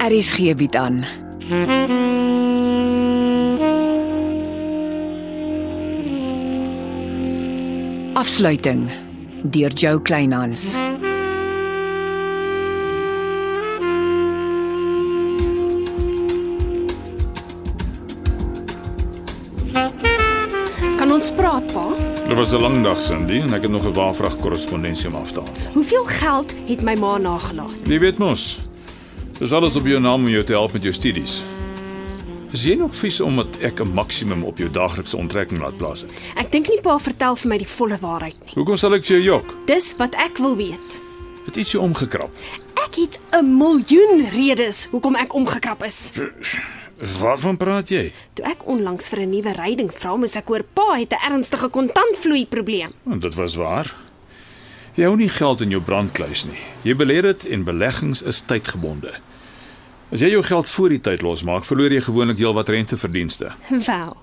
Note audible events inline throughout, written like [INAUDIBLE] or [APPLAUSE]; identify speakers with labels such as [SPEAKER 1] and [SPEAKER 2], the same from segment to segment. [SPEAKER 1] Aries gee Er bied aan. Afsluiting deur Jo Kleinhans.
[SPEAKER 2] Kan ons praat, pa?
[SPEAKER 3] Dit was 'n lang dag, Cindy, en ek het nog 'n waarvrag korrespondensie om af te haal.
[SPEAKER 2] Hoeveel geld het my ma nagelaat?
[SPEAKER 3] Jy weet mos, dis alles op jou naam om jou te help met jou studies. Is jy nog vies omdat ek 'n maksimum op jou daaglikse onttrekking laat plaas het?
[SPEAKER 2] Ek dink nie pa vertel vir my die volle waarheid nie.
[SPEAKER 3] Hoekom sal ek vir jou jok?
[SPEAKER 2] Dis wat ek wil weet.
[SPEAKER 3] Het iets jou omgekrap?
[SPEAKER 2] Ek het 'n miljoen redes hoekom ek omgekrap is.
[SPEAKER 3] Waarvan praat jy?
[SPEAKER 2] Toe ek onlangs vir 'n nuwe ryding vra, moes ek hoor pa het 'n ernstige kontantvloei probleem.
[SPEAKER 3] Want dit was waar. Jy hou nie geld in jou brandkluis nie. Jy belê dit en beleggings is tydgebonde. As jy jou geld voor die tyd losmaak, verloor jy gewoonlik heelwat renteverdienste.
[SPEAKER 2] [LAUGHS] Wel,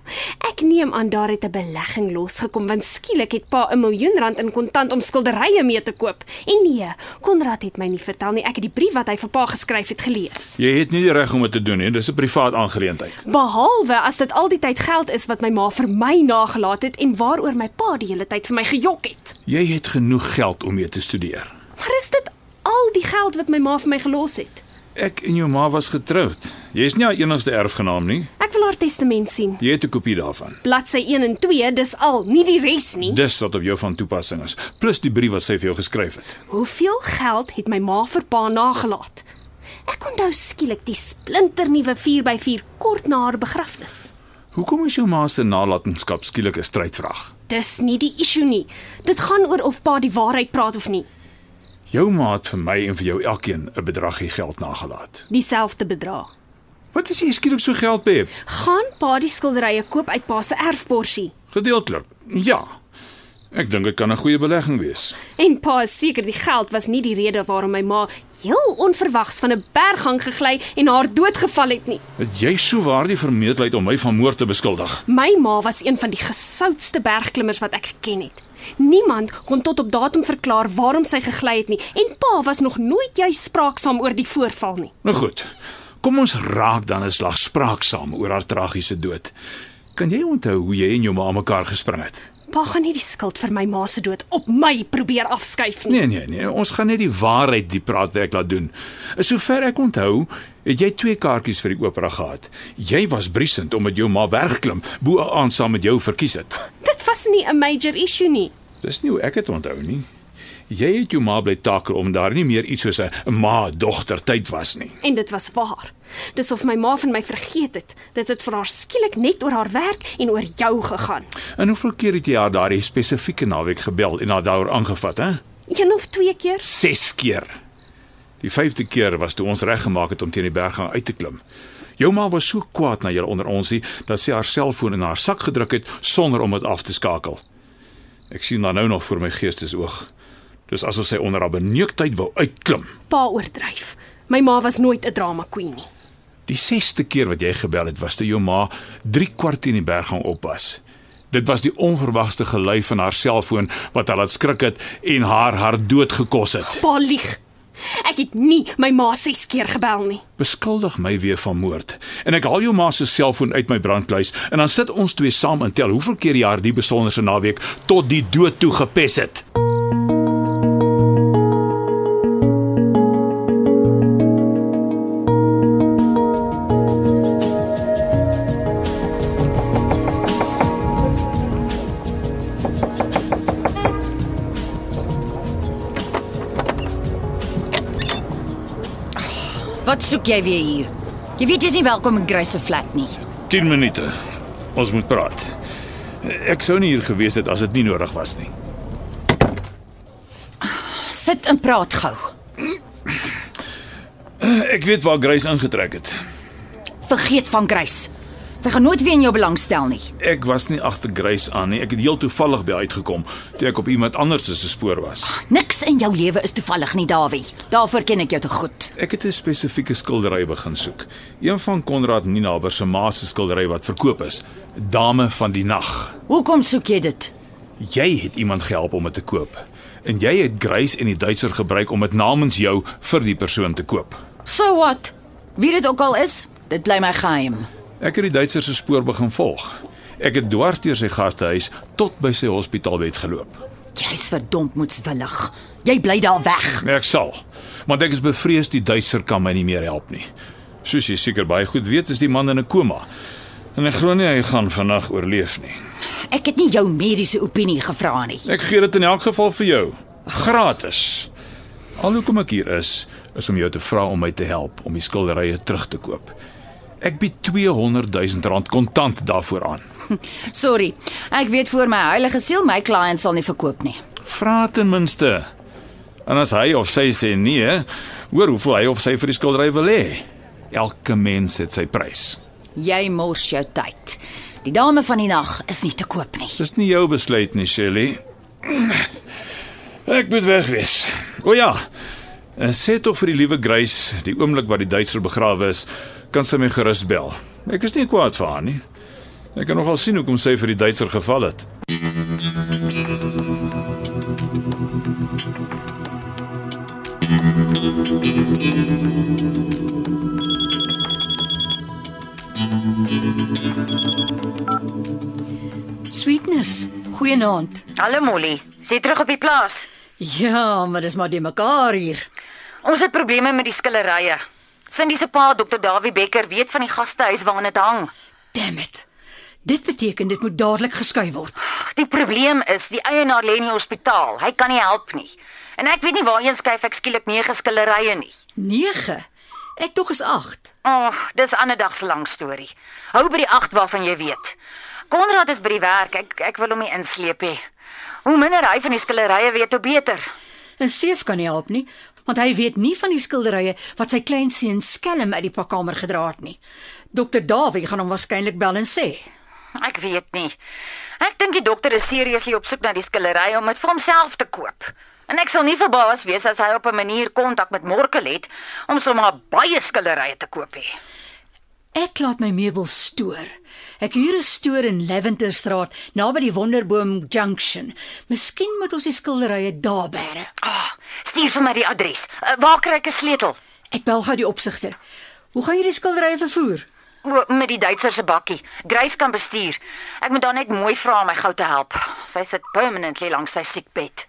[SPEAKER 2] ek neem aan daar het 'n belegging losgekom want skielik het pa 'n miljoen rand in kontant om skilderye mee te koop. En nee, Konrad het my nie vertel nie. Ek het die brief wat hy vir pa geskryf het gelees.
[SPEAKER 3] Jy het nie die reg om dit te doen nie. Dis 'n privaat aangeleentheid.
[SPEAKER 2] Behalwe as dit al die tyd geld is wat my ma vir my nagelaat het en waaroor my pa die hele tyd vir my gejok het.
[SPEAKER 3] Jy het genoeg geld om mee te studeer.
[SPEAKER 2] Maar is dit al die geld wat my ma vir my gelos het?
[SPEAKER 3] Ek en jou ma was getroud. Jy's nie haar enigste erfgenaam nie.
[SPEAKER 2] Ek wil haar testament sien.
[SPEAKER 3] Jy het 'n kopie daarvan.
[SPEAKER 2] Bladsy 1 en 2, dis al, nie die res nie.
[SPEAKER 3] Dis wat op jou van toepassing is, plus die brief wat sy vir jou geskryf het.
[SPEAKER 2] Hoeveel geld het my ma vir pa nagelaat? Ek onthou skielik die splinternuwe 4x4 kort na haar begrafnis.
[SPEAKER 3] Hoekom is jou ma se nalatenskap skielik 'n strydvraag?
[SPEAKER 2] Dis nie die issue nie. Dit gaan oor of pa die waarheid praat of nie.
[SPEAKER 3] Jou ma het vir my en vir jou elkeen 'n bedragie geld nagelaat.
[SPEAKER 2] Dieselfde bedrag.
[SPEAKER 3] Wat is jy skielik so geld behep?
[SPEAKER 2] Gaan pa die skilderye koop uit pa se erfporsie?
[SPEAKER 3] Gedeeltelik. Ja. Ek dink dit kan 'n goeie belegging wees.
[SPEAKER 2] En pa is seker die geld was nie die rede waarom my ma heel onverwags van 'n berghang gegly en haar doodgeval het nie.
[SPEAKER 3] Het jy so waar die vermetelheid om my van moord te beskuldig?
[SPEAKER 2] My ma was een van die gesoutste bergklimmers wat ek geken het. Niemand kon tot op datum verklaar waarom sy gegly het nie en pa was nog nooit juis spraaksaam oor die voorval nie.
[SPEAKER 3] Nou goed. Kom ons raak dan 'n slag spraaksaam oor haar tragiese dood. Kan jy onthou hoe jy en jou ma mekaar gespring het?
[SPEAKER 2] Pa gaan nie die skuld vir my ma se dood op my probeer afskuif nie.
[SPEAKER 3] Nee nee nee, ons gaan net die waarheid die praatwerk laat doen. Sover ek onthou, het jy twee kaartjies vir die opera gehad. Jy was briesend omdat jou ma bergklim bo aan saam met jou verkies het.
[SPEAKER 2] Dit was nie 'n major issue nie.
[SPEAKER 3] Dis nie hoe ek dit onthou nie. Jy het jou ma bly takel om daar nie meer iets soos 'n ma-dogter tyd was nie.
[SPEAKER 2] En dit was waar. Dis of my ma van my vergeet het. Dit het vir haar skielik net oor haar werk en oor jou gegaan.
[SPEAKER 3] En hoeveel keer het jy haar daardie spesifieke naweek gebel en haar daaroor aangevat, hè?
[SPEAKER 2] Een of twee keer
[SPEAKER 3] 6 keer. Die vyfde keer was toe ons reggemaak het om teen die berggang uit te klim. Jou ma was so kwaad na julle onder ons hier dat sy haar selfoon in haar sak gedruk het sonder om dit af te skakel. Ek sien haar nou nog voor my geestesoog. Dis asof sy onder haar beneuktheid wou uitklim.
[SPEAKER 2] pa oordryf. My ma was nooit 'n drama queen nie.
[SPEAKER 3] Die sesde keer wat jy gebel het, was toe jou ma 3 kwart in die berg gaan oppas. Dit was die onverwagste gelui van haar selfoon wat haar laat skrik het en haar haar dood gekos het.
[SPEAKER 2] Pa lieg. Ek het nie my ma 6 keer gebel nie.
[SPEAKER 3] Beskuldig my weer van moord en ek haal jou ma se selfoon uit my brandkluis en dan sit ons twee saam en tel hoeveel keer jy haar die besonderse naweek tot die dood toe gepes het.
[SPEAKER 4] Wat soek jy weer hier? Jy weet jy's nie welkom in Grace se flat nie.
[SPEAKER 3] 10 minute. Ons moet praat. Ek sou nie hier gewees het as dit nie nodig was nie.
[SPEAKER 4] Sit en praat gou.
[SPEAKER 3] Ek weet waar Grace ingetrek het.
[SPEAKER 4] Vergeet van Grace. Sy gaan nooit weer in jou belangstel nie.
[SPEAKER 3] Ek was nie agter Grace aan nie. Ek het heel toevallig by uitgekom toe ek op iemand anders se spoor was.
[SPEAKER 4] Niks in jou lewe is toevallig nie, Dawie. Daarvoor ken ek jou te goed.
[SPEAKER 3] Ek het 'n spesifieke skildery begin soek. Een van Konrad Ninaber se ma se skildery wat verkoop is, Dame van die Nag.
[SPEAKER 4] Hoekom soek jy dit?
[SPEAKER 3] Jy het iemand gehelp om dit te koop. En jy het Grace en die Duitser gebruik om dit namens jou vir die persoon te koop.
[SPEAKER 4] So what? Wie dit ook al is, dit bly my geheim.
[SPEAKER 3] Ek het die Duitser se spoor begin volg. Ek het dwars deur sy gastehuis tot by sy hospitaalbed geloop.
[SPEAKER 4] Jy's verdomd moedswillig. Jy bly daar weg.
[SPEAKER 3] Nee, ek sal. Want ek is bevrees die Duitser kan my nie meer help nie. Soos jy seker baie goed weet, is die man in 'n koma. En ek glo nie hy gaan vannag oorleef nie.
[SPEAKER 4] Ek het nie jou mediese opinie gevra nie.
[SPEAKER 3] Ek gee dit in elk geval vir jou, gratis. Al hoekom ek hier is, is om jou te vra om my te help om die skilderye terug te koop. Ek bied 200 000 rand kontant daarvoor aan.
[SPEAKER 4] Sorry. Ek weet voor my heilige siel my kliënt sal nie verkoop nie.
[SPEAKER 3] Vra ten minste. En as hy of sy sê nee, hoor hoeveel hy of sy vir die skildery wil hê. Elke mens het sy prys.
[SPEAKER 4] Jy mors jou tyd. Die dame van die nag is nie te koop nie.
[SPEAKER 3] Dis nie jou besluit nie, Shelley. Ek moet weg wees. O ja. eh, Sê tog vir die liewe Grace, die oomblik wat die Duitser begrawe is, kan sy my gerus bel. Ek is nie kwaad vir haar nie. Ek kan nogal sien hoekom sy vir die Duitser geval het.
[SPEAKER 4] Sweetness. Goeienaand.
[SPEAKER 5] Hallo Molly, sê terug op die plaas.
[SPEAKER 4] Ja, maar dis maar die mekaar hier.
[SPEAKER 5] Ons het probleme met die skillerye. Cindy se pa, Dr. Dawie Becker, weet van die gastehuis waarna dit hang.
[SPEAKER 4] Damn it. Dit beteken dit moet dadelik geskuif word.
[SPEAKER 5] Die probleem is die eienaar lê in die hospitaal. Hy kan nie help nie. En ek weet nie waarheen skuif ek skielik nege skillerye nie.
[SPEAKER 4] 9. Ek tog is 8.
[SPEAKER 5] Ag, oh, dis 'n ander dag se lang storie. Hou by die agt waarvan jy weet. Konrad is by die werk. Ek ek wil hom nie insleep nie. Hoe minder hy van die skillerye weet, hoe beter.
[SPEAKER 4] En Seef kan nie help nie, want hy weet nie van die skilderye wat sy kleinseun skelm uit die pakkamer gedra het nie. Dokter Dawie gaan hom waarskynlik bel en sê.
[SPEAKER 5] Ek weet nie. Ek dink die dokter is seriously op soek na die skillery om dit vir homself te koop. En ek sal nie verbaas wees as hy op 'n manier kontak met Morkel het om sommer baie skillerye te koop hê.
[SPEAKER 4] Ek laat my meubels stoor. Ek huur 'n stoor in Lavenderstraat naby die Wonderboom Junction. Miskien moet ons die skilderye daar bære.
[SPEAKER 5] Ah, stuur vir my die adres. Uh, waar kry ek 'n sleutel?
[SPEAKER 4] Ek bel gou die opsigter. Hoe gaan jy die skilderye vervoer?
[SPEAKER 5] O, met die Duitser se bakkie. Grace kan bestuur. Ek moet haar net mooi vra om my gou te help. Sy sit permanently langs sy siekbed.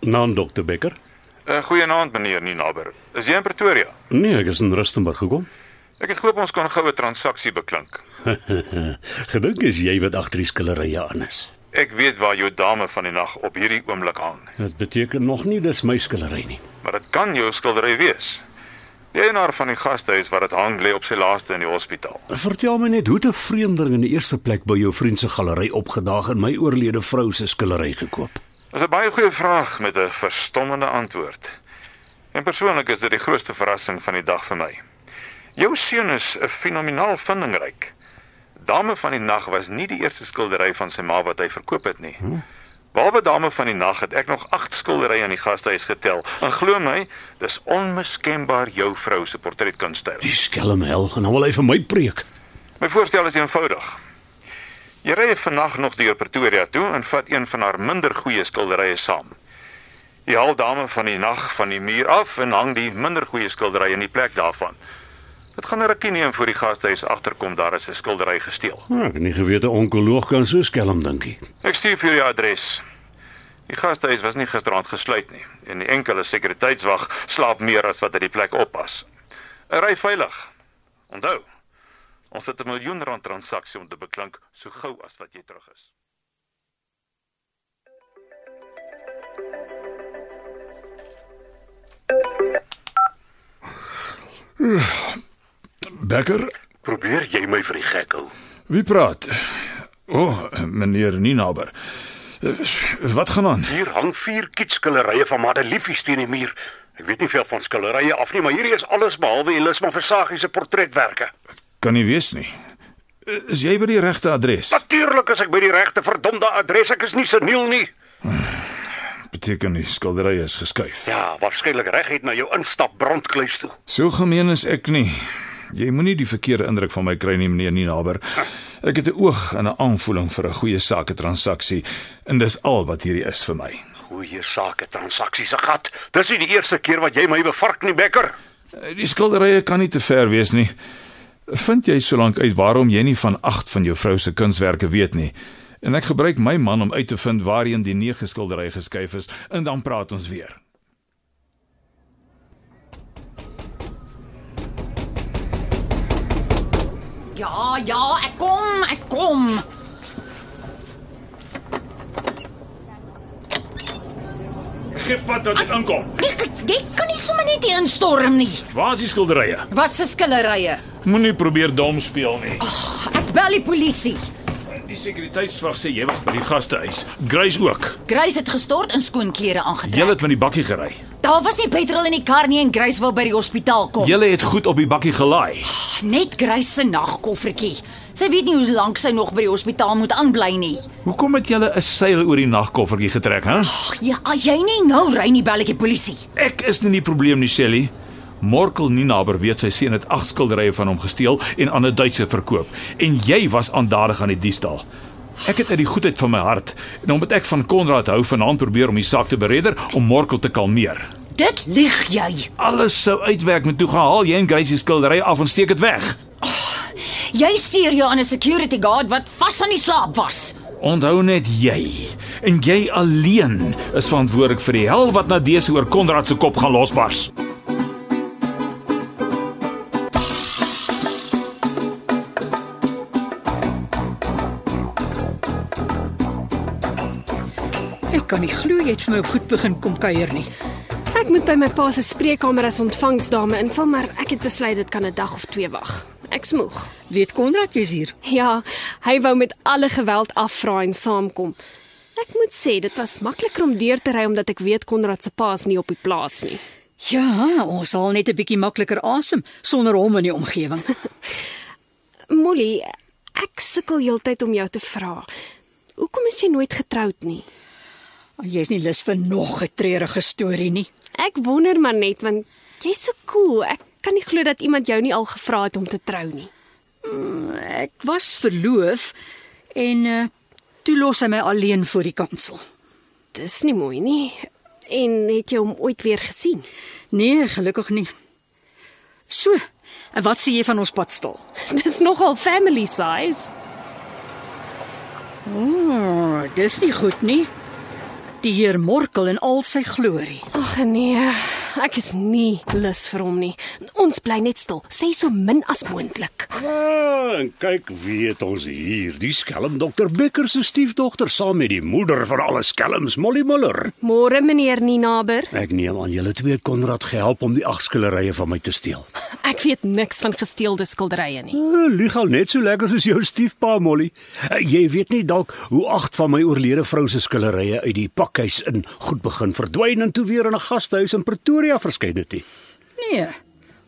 [SPEAKER 6] Naam dokter Becker?
[SPEAKER 7] Uh, Goeienaand meneer Ninaber. Is jy in Pretoria?
[SPEAKER 6] Nee, ek is in Rustenburg gekom.
[SPEAKER 7] Ek het gehoop ons kon goue transaksie beklink.
[SPEAKER 6] Gedink is jy wat agter die skillerye aan is.
[SPEAKER 7] Ek weet waar jou dame van die nag op hierdie oomblik hang,
[SPEAKER 6] Dit beteken nog nie dis my skillery nie.
[SPEAKER 7] maar dit kan jou skildery wees. Die eienaar van die gastehuis wat dit hang lê op sy laaste in die hospitaal.
[SPEAKER 6] Vertel my net hoe 'n vreemdeling in die eerste plek by jou vriend se galery opgedaag en my oorlede vrou se skillery gekoop.
[SPEAKER 7] Dis 'n baie goeie vraag met 'n verstommende antwoord. En persoonlik is dit die grootste verrassing van die dag vir my. Jou seun is 'n fenomenaal vindingryk. Dame van die nag was nie die eerste skildery van sy ma wat hy verkoop het nie. Behalwe Dame van die nag het ek nog 8 skilderye in die gastehuis getel. En glo my, dis onmiskenbaar jou vrou se portretkunstyl.
[SPEAKER 6] Die skelm hel en hom wil hy vir my preek.
[SPEAKER 7] My voorstel is eenvoudig. Jy ry vannag nog deur Pretoria toe en vat een van haar minder goeie skilderye saam. Jy haal dame van die nag van die muur af en hang die minder goeie skildery in die plek daarvan. Dit gaan 'n rukkie neem voor die gastehuis agterkom daar is 'n skildery gesteel.
[SPEAKER 6] Nou, ek het nie geweet 'n onkoloog kan so skelm dink nie.
[SPEAKER 7] Ek stuur vir jou die adres. Die gastehuis was nie gisteraand gesluit nie en die enkele sekuriteitswag slaap meer as wat uit die plek oppas. Ry veilig. Onthou, ons het 'n miljoen rand transaksie om te beklink so gou as wat jy terug is.
[SPEAKER 3] Becker,
[SPEAKER 8] Probeer jy my vir die gek hou?
[SPEAKER 3] wie praat? O, oh, meneer Ninaber. Wat gaan aan?
[SPEAKER 8] Hier hang vier kitskillerye van Madeliefie teen die muur. Ek weet nie veel van skillerye af nie, maar hierdie is alles behalwe Elisma Versagie se portretwerke.
[SPEAKER 3] Kan nie wees nie. Is jy by die regte adres?
[SPEAKER 8] Natuurlik is ek by die regte verdomde adres. Ek is nie seniel nie.
[SPEAKER 3] beteken die skildery is geskuif.
[SPEAKER 9] Ja, waarskynlik reguit na jou instap brandkluis toe.
[SPEAKER 3] So gemeen is ek nie. Jy moenie die verkeerde indruk van my kry nie, meneer Ninaber. Ek het 'n oog en 'n aanvoeling vir 'n goeie saketransaksie en dis al wat hierdie is vir my.
[SPEAKER 9] Goeie sake transaksies, ek gat. Dis nie die eerste keer wat jy my bevark nie, Becker.
[SPEAKER 3] Die skilderye kan nie te ver wees nie. Vind jy solank uit waarom jy nie van 8 van jou vrou se kunswerke weet nie. En ek gebruik my man om uit te vind waarheen die 9 skildery geskuif is en dan praat ons weer.
[SPEAKER 4] Ja, ja, ek kom, ek kom.
[SPEAKER 3] Gip wat tot dit inkom.
[SPEAKER 4] Jy, jy kan nie sommer net hier instorm nie.
[SPEAKER 3] Waar is die skilderye?
[SPEAKER 4] Wat se skillerye?
[SPEAKER 3] Moenie probeer dom speel nie.
[SPEAKER 4] Ek bel die polisie.
[SPEAKER 3] Die sekuriteitsvag sê jy was by die gastehuis. Grace ook.
[SPEAKER 4] Grace het gestort en skoonklere aangetrek.
[SPEAKER 3] Jy het met die bakkie gery.
[SPEAKER 4] Daar was nie petrol in die kar nie en Grace wou by die hospitaal kom.
[SPEAKER 3] Jy het goed op die bakkie gelaai.
[SPEAKER 4] Net Grace se nagkoffertjie. Sy weet nie hoe lank sy nog by die hospitaal moet aanbly nie.
[SPEAKER 3] Hoekom het jy 'n seil oor die nagkoffertjie getrek, hè?
[SPEAKER 4] Ag ja, as jy nie nou ry nie, bel ek die polisie.
[SPEAKER 3] Ek is nie die probleem nie, Shelly. Morkel Ninaber weet sy seun het agt skilderye van hom gesteel en aan 'n Duitser verkoop en jy was aandadig aan die diefstal. Ek het uit die goedheid van my hart en omdat ek van Konrad hou vanaand probeer om die saak te beredder om Morkel te kalmeer.
[SPEAKER 4] Dit lieg jy.
[SPEAKER 3] Alles sou uitwerk met toe gehaal jy en Gracie se skildery af en steek dit weg.
[SPEAKER 4] Jy stuur jou aan 'n security guard wat vas aan die slaap was.
[SPEAKER 3] Onthou net jy en jy alleen is verantwoordelik vir die hel wat na dese oor Konrad se kop gaan losbars.
[SPEAKER 10] Ek kan nie glo jy het vir my op goed begin kom kuier nie.
[SPEAKER 2] Ek moet by my pa se spreekkamer as ontvangsdame invul, maar ek het besluit dit kan 'n dag of twee wag. Ek smoeg.
[SPEAKER 10] Weet Konrad jy's hier?
[SPEAKER 2] Ja, hy wou met alle geweld afvra en saamkom. Ek moet sê dit was makliker om deur te ry omdat ek weet Konrad se pa is nie op die plaas nie.
[SPEAKER 10] Ja, ons haal net 'n bietjie makliker asem sonder hom in die omgewing.
[SPEAKER 2] Molly, ek sukkel heeltyd om jou te vra. Hoekom is jy nooit getroud nie?
[SPEAKER 10] Ah, Jy's nie lus vir nog 'n treurige storie nie.
[SPEAKER 2] Ek wonder maar net want jy's so cool. Ek kan nie glo dat iemand jou nie al gevra het om te trou nie.
[SPEAKER 10] Ek was verloof en uh, toe los hy my alleen voor die kansel.
[SPEAKER 2] Dis nie mooi nie. En het jy hom ooit weer gesien? [LAUGHS]
[SPEAKER 10] Nee, gelukkig nie. So, en wat sê jy van ons padstal?
[SPEAKER 2] Dis nogal family size.
[SPEAKER 10] Oh, dis nie goed nie. Die heer Morkel in al sy glorie.
[SPEAKER 2] Ag nee, ek is nie lus vir hom nie. Ons bly net stil. Sê so min as moontlik.
[SPEAKER 6] Ah, en kyk wie het ons hier. Die skelm dokter Becker se stiefdogter saam met die moeder van alle skelms, Molly Muller.
[SPEAKER 2] Môre meneer Ninaber.
[SPEAKER 6] Ek neem aan julle twee het Konrad gehelp om die agskillerye van my te steel.
[SPEAKER 2] Ek weet niks van gesteelde skilderye nie.
[SPEAKER 6] Uh, Lieg al net so lekker soos jou stiefpa Molly. Uh, jy weet nie dalk hoe agt van my oorlede vrou se skillerye uit die pakhuis in goed begin verdwyn en toe weer in 'n gastehuis in Pretoria verskyn het nie.
[SPEAKER 10] Nee.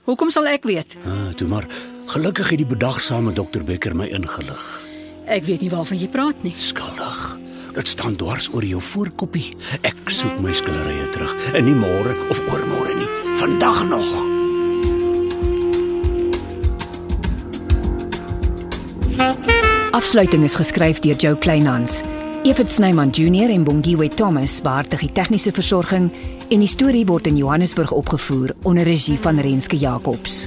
[SPEAKER 10] Hoekom sal ek weet?
[SPEAKER 6] Ah, toe maar gelukkig het die bedagsame dokter Becker my ingelig.
[SPEAKER 10] Ek weet nie waarvan jy praat nie.
[SPEAKER 6] Skuldig. Dit staan dwars oor jou voorkoppie. Ek soek my skillerye terug en nie môre of oormôre nie. Vandag nog.
[SPEAKER 1] Afsluiting is geskryf deur Jo Kleinhans. Evit Snyman Junior en Bongwe Thomas beheerdig die tegniese versorging en die storie word in Johannesburg opgevoer onder regie van Renske Jacobs.